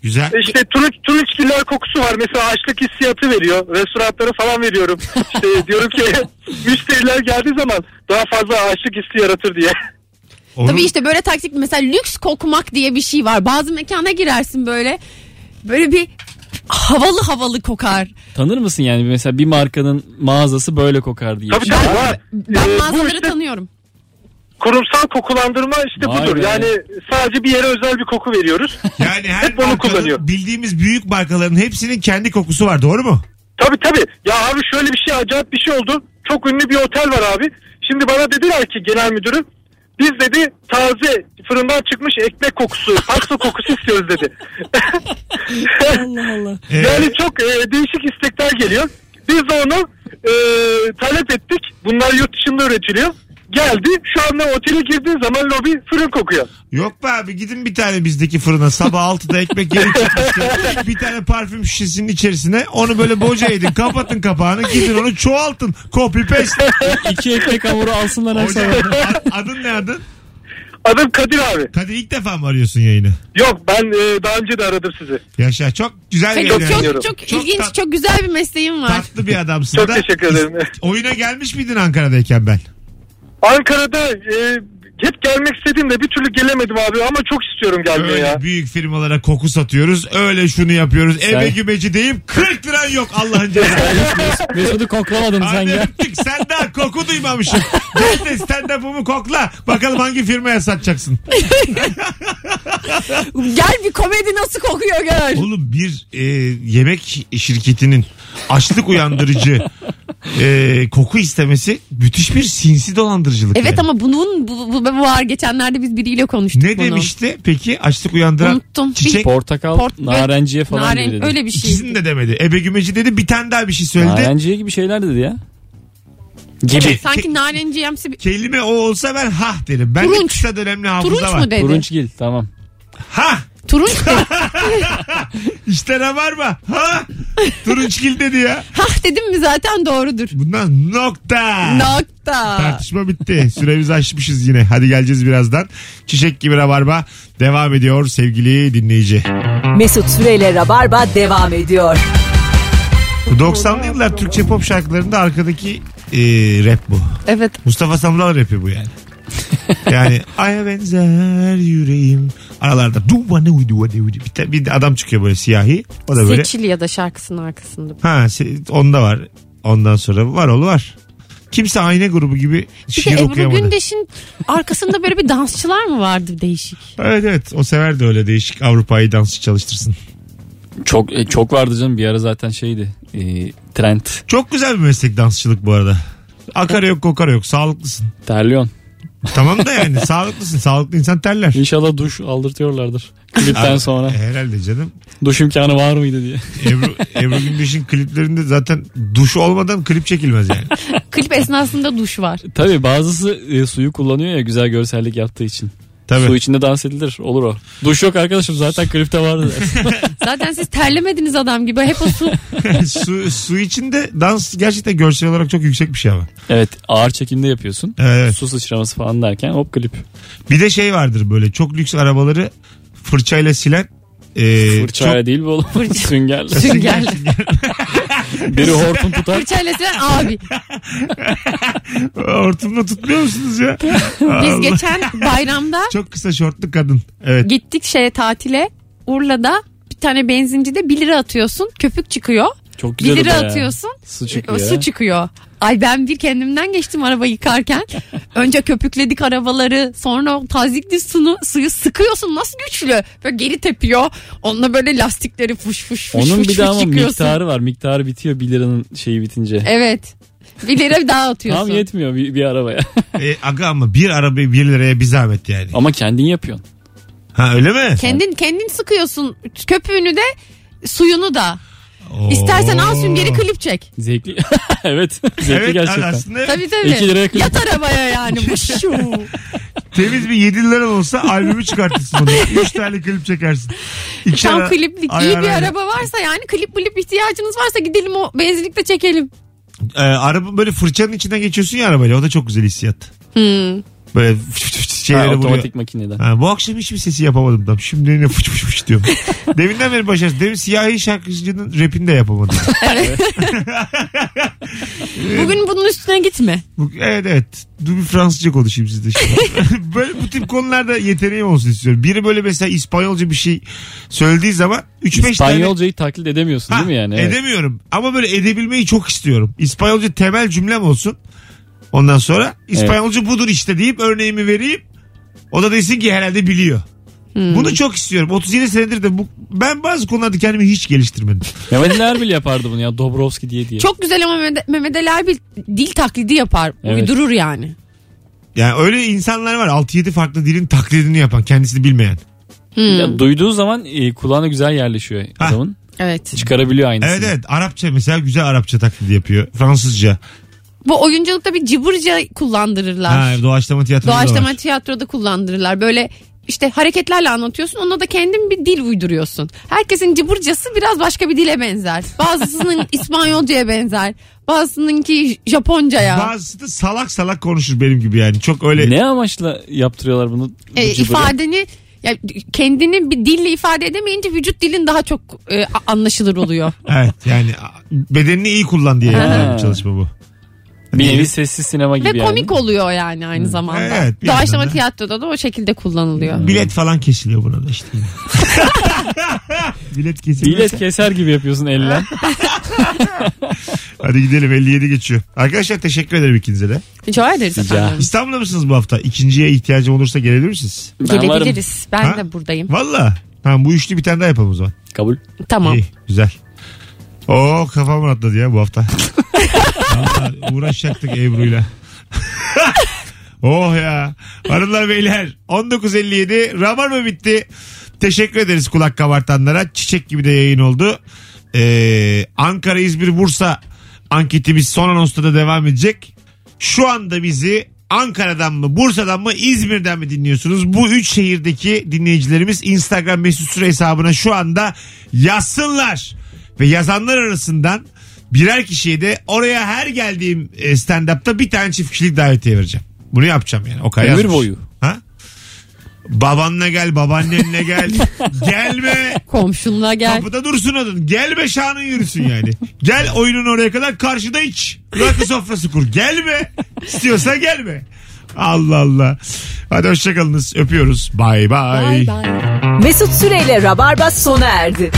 Güzel.
E, İşte turunç, turunçgiller kokusu var. Mesela açlık hissiyatı veriyor. Restoranlara falan veriyorum.
[LAUGHS]
İşte diyorum ki müşteriler geldiği zaman daha fazla açlık hissi yaratır diye.
Onun-
Tabii işte böyle taktik mesela lüks kokmak diye bir şey var. Bazı mekana girersin böyle böyle bir havalı havalı kokar.
Tanır mısın yani? Mesela bir markanın mağazası böyle kokar diye. bir
Tabii
şey.
tabii var.
Ben
E, bu
mağazaları
işte- [LAUGHS]
tanıyorum.
Kurumsal kokulandırma işte
Vay
budur.
be.
Yani sadece bir yere özel bir
[LAUGHS]
koku veriyoruz.
Yani her
Hep onu
markanın,
kullanıyor.
bildiğimiz büyük markaların hepsinin kendi kokusu var. Doğru mu?
tabii tabii. Ya abi şöyle bir şey acayip bir şey oldu. Çok ünlü bir otel var abi. Şimdi bana dediler ki genel müdürü Biz dedi taze fırından çıkmış ekmek kokusu, pasta kokusu istiyoruz dedi.
Allah Allah.
Ee,
Yani çok e, değişik istekler geliyor. Biz de onu e, talep ettik. Bunlar yurt dışında üretiliyor. Geldi. Şu anda otele girdiğin zaman lobi fırın kokuyor.
Yok be abi gidin bir tane bizdeki fırına sabah 6'da ekmek yeni çıkmıştı. bir tane parfüm şişesinin içerisine onu böyle boca edin kapatın kapağını gidin onu çoğaltın. Copy
[LAUGHS]
paste.
İki ekmek hamuru alsınlar her
Hocam,
sabah.
a- adın ne adın?
Adım Kadir abi.
Kadir ilk defa mı arıyorsun yayını?
Yok ben e, daha önce de aradım sizi.
Yaşa çok güzel
Çok,
yayın.
çok,
yani.
çok,
Çok
ilginç,
tat-
çok güzel bir mesleğim var.
Tatlı bir adamsın
Çok
da.
teşekkür ederim.
İst- Oyuna gelmiş miydin Ankara'dayken ben?
Ankara'da e, hep gelmek istediğimde bir türlü gelemedim abi ama çok istiyorum gelmeye
Öyle
ya.
büyük firmalara koku satıyoruz. Öyle şunu yapıyoruz. Eve gümeci deyip 40 liran yok Allah'ın cezası.
Mesut'u koklamadın sen
Hadi
ya.
öptük. Sen daha koku duymamışsın. Gel de stand up'ımı kokla. Bakalım hangi firmaya satacaksın.
Gel bir komedi nasıl kokuyor gör.
Oğlum bir e, yemek şirketinin açlık uyandırıcı e, koku istemesi müthiş bir sinsi dolandırıcılık.
Evet
yani.
ama bunun bu, bu, bu var. Geçenlerde biz biriyle konuştuk
Ne
bunu.
demişti peki açlık uyandıran
Unuttum.
çiçek?
Portakal,
Port-
narenciye falan
Naren,
gibi dedi.
öyle bir şey.
İkisini de demedi. Ebe gümeci dedi bir tane daha bir şey söyledi.
Narenciye gibi şeyler dedi ya. Gibi.
Evet, sanki narenciyemsi bir...
Kelime o olsa ben hah derim. Ben de
Turunç.
kısa dönemli hafıza
Turunç
var.
mu dedi?
Turunçgil tamam.
Ha
Turunç dedi.
[LAUGHS] işte ne var mı? Ha turunçgil dedi ya.
Hah dedim mi zaten doğrudur.
Bundan nokta.
Nokta.
Tartışma bitti. Süremizi aşmışız yine. Hadi geleceğiz birazdan. Çiçek gibi rabarba devam ediyor sevgili dinleyici.
Mesut Süreyle Rabarba devam ediyor.
90'lı yıllar Türkçe pop şarkılarında arkadaki e, rap bu.
Evet.
Mustafa Sandal rapi bu yani. yani aya benzer yüreğim. Aralarda duva ne uydu ne uydu. Bir, de- bir de adam çıkıyor böyle siyahi. O da böyle.
Seçil ya da şarkısının arkasında.
Ha se- onda var. Ondan sonra var oğlu var. Kimse ayna grubu gibi
Bir de
şiir
Ebru
okuyamadı.
Gündeş'in arkasında böyle bir dansçılar mı vardı değişik?
Evet evet o sever de öyle değişik Avrupa'yı dansçı çalıştırsın.
Çok e, çok vardı canım bir ara zaten şeydi. E, trend.
Çok güzel bir meslek dansçılık bu arada. Akar yok kokar yok sağlıklısın.
Terliyon.
Tamam da yani sağlıklısın sağlıklı insan terler. E,
İnşallah duş [LAUGHS] aldırtıyorlardır. Klipten sonra.
Herhalde canım.
Duş imkanı var mıydı diye.
Ebru, Ebru Gündeş'in kliplerinde zaten duş olmadan klip çekilmez yani.
Klip esnasında duş var.
[LAUGHS] Tabii bazısı e, suyu kullanıyor ya güzel görsellik yaptığı için.
Tabii.
Su içinde dans edilir olur o. Duş yok arkadaşım zaten
[LAUGHS]
klipte vardı. dersin.
Zaten siz terlemediniz adam gibi. Hep o su
su, su içinde dans gerçekten görsel olarak çok yüksek bir şey ama.
evet ağır çekimde yapıyorsun.
Evet.
Su sıçraması falan derken hop klip.
Bir de şey vardır böyle çok lüks arabaları fırçayla silen e,
Fırçayla değil
[LAUGHS]
bu oğlum. [LAUGHS] Süngerle.
süngerle.
Biri hortum tutar.
Fırçayla silen abi.
çok [LAUGHS] hortumla tutmuyor musunuz ya?
Biz
Allah.
geçen bayramda
Çok kısa şortlu kadın. Evet.
gittik şeye tatile. Urla'da bir tane benzincide 1 lira atıyorsun. Köpük çıkıyor.
Çok
1
güzel
lira
o da ya.
atıyorsun.
E,
Su
O
çıkıyor.
su çıkıyor. Ay ben bir kendimden geçtim araba
[LAUGHS]
yıkarken. Önce köpükledik arabaları. Sonra o tazikli sunu, suyu sıkıyorsun. Nasıl güçlü? Böyle geri tepiyor. Onunla böyle lastikleri fuş fuş fuş
Onun
fuş,
bir de
fuş
ama
yıkıyorsun.
miktarı var. Miktarı bitiyor 1 liranın şeyi bitince.
Evet. Bir lira daha atıyorsun.
Tam yetmiyor bir, bir arabaya.
E, aga ama bir arabayı bir liraya bir zahmet yani.
[LAUGHS] ama kendin yapıyorsun.
Ha öyle mi?
kendin kendin sıkıyorsun. Köpüğünü de suyunu da.
Oo.
İstersen al süngeri klip çek.
Zevkli. [LAUGHS] evet. Zevkli
Evet
gerçekten.
aslında
Tabii
İki
tabii.
liraya klip.
Yat arabaya
[LAUGHS]
yani. Bu şu.
temiz bir 7 lira olsa albümü çıkartırsın
[LAUGHS]
onu. 3 tane klip çekersin. İki
Tam
ara-
kliplik
Ay,
iyi
ay,
bir
ay.
araba varsa yani klip klip ihtiyacınız varsa gidelim o benzinlikte çekelim.
Ee, araba böyle fırçanın içinden geçiyorsun ya arabayla o da çok güzel hissiyat.
Hmm.
Böyle [LAUGHS] fıç fıç fıç
Ha,
şeyleri vuruyor.
otomatik makineden.
Ha, bu akşam hiçbir sesi yapamadım tam. Şimdi yine fıç fıç fıç
[LAUGHS]
diyorum. Deminden beri başarısız. Demin siyahi şarkıcının rapini de yapamadım.
Bugün bunun üstüne gitme.
Bu- evet evet. Dur bir Fransızca konuşayım sizde
[LAUGHS]
şimdi. [LAUGHS] böyle bu tip konularda yeteneğim olsun istiyorum. Biri böyle mesela İspanyolca bir şey söylediği zaman 3-5 tane
İspanyolcayı taklit edemiyorsun
hani- Ha,
değil mi yani? Evet.
Edemiyorum ama böyle edebilmeyi çok istiyorum. İspanyolca temel cümlem olsun. Ondan sonra İspanyolca budur işte deyip örneğimi vereyim. O da desin ki herhalde biliyor.
Hmm.
Bunu çok istiyorum. 37 senedir de bu, ben bazı konularda kendimi hiç geliştirmedim.
Mehmet Ali Erbil yapardı bunu ya Dobrovski diye diye.
Çok güzel ama Mehmet, Mehmet Ali Erbil dil taklidi yapar.
Evet.
Uydurur yani.
Yani öyle insanlar var 6-7 farklı dilin taklidini yapan kendisini bilmeyen.
Hmm.
Ya duyduğu zaman e, kulağına güzel yerleşiyor
Ha.
adamın.
Evet.
Çıkarabiliyor aynısını.
Evet evet Arapça mesela güzel Arapça taklidi yapıyor. Fransızca.
Bu oyunculukta bir cıbırca kullandırırlar.
Ha, doğaçlama tiyatroda da
Doğaçlama
var.
tiyatroda kullandırırlar. Böyle işte hareketlerle anlatıyorsun. Ona da kendin bir dil uyduruyorsun. Herkesin cıbırcası biraz başka bir dile benzer. Bazısının İspanyolcaya benzer. Bazısınınki Japoncaya.
Bazısı da salak salak konuşur benim gibi yani. Çok öyle
Ne amaçla yaptırıyorlar bunu? bu
e,
cıbırı?
ifadeni ya kendini bir dille ifade edemeyince vücut dilin daha çok e, a- anlaşılır oluyor.
evet yani bedenini iyi kullan diye yapılan bir çalışma bu.
Bir nevi sessiz sinema gibi
Ve
yani. Hmm.
komik oluyor yani aynı zamanda.
Evet, bir yandan
Doğaçlama
da.
tiyatroda da o şekilde kullanılıyor.
Bilet falan kesiliyor burada işte. Bilet kesiliyor.
Bilet keser gibi yapıyorsun elle.
Hadi gidelim 57 geçiyor. Arkadaşlar teşekkür ederim ikinize de.
Rica ederiz
Rica.
efendim.
İstanbul'da mısınız bu hafta? İkinciye ihtiyacım olursa gelebilir misiniz?
Ben varım.
Gelebiliriz. Ben
Ha?
de buradayım.
Valla. Tamam bu üçlü bir tane daha yapalım o zaman.
Kabul.
Tamam.
İyi güzel. Oo kafam rahatladı ya bu hafta. [LAUGHS] Vallahi uğraşacaktık Ebru'yla. oh ya. Hanımlar beyler 19.57 Rabar mı bitti? Teşekkür ederiz kulak kabartanlara. Çiçek gibi de yayın oldu. Ee, Ankara, İzmir, Bursa anketimiz son anonsta da devam edecek. Şu anda bizi Ankara'dan mı, Bursa'dan mı, İzmir'den mi dinliyorsunuz? Bu üç şehirdeki dinleyicilerimiz Instagram mesut süre hesabına şu anda yazsınlar. Ve yazanlar arasından birer kişiye de oraya her geldiğim e, stand-up'ta bir tane çift kişilik davetiye vereceğim. Bunu yapacağım yani. O kadar
Ömür
yazmış.
boyu.
Ha? Babanla gel, babaannenle
[LAUGHS]
gel. Gelme.
Komşunla gel.
Kapıda dursun adın. Gelme şanın yürüsün yani. Gel oyunun oraya kadar karşıda iç. Rakı sofrası kur. Gelme. İstiyorsa gelme. Allah Allah. Hadi hoşçakalınız. Öpüyoruz. Bay bay.
Bye bye.
Mesut Süreyle Rabarba sona erdi.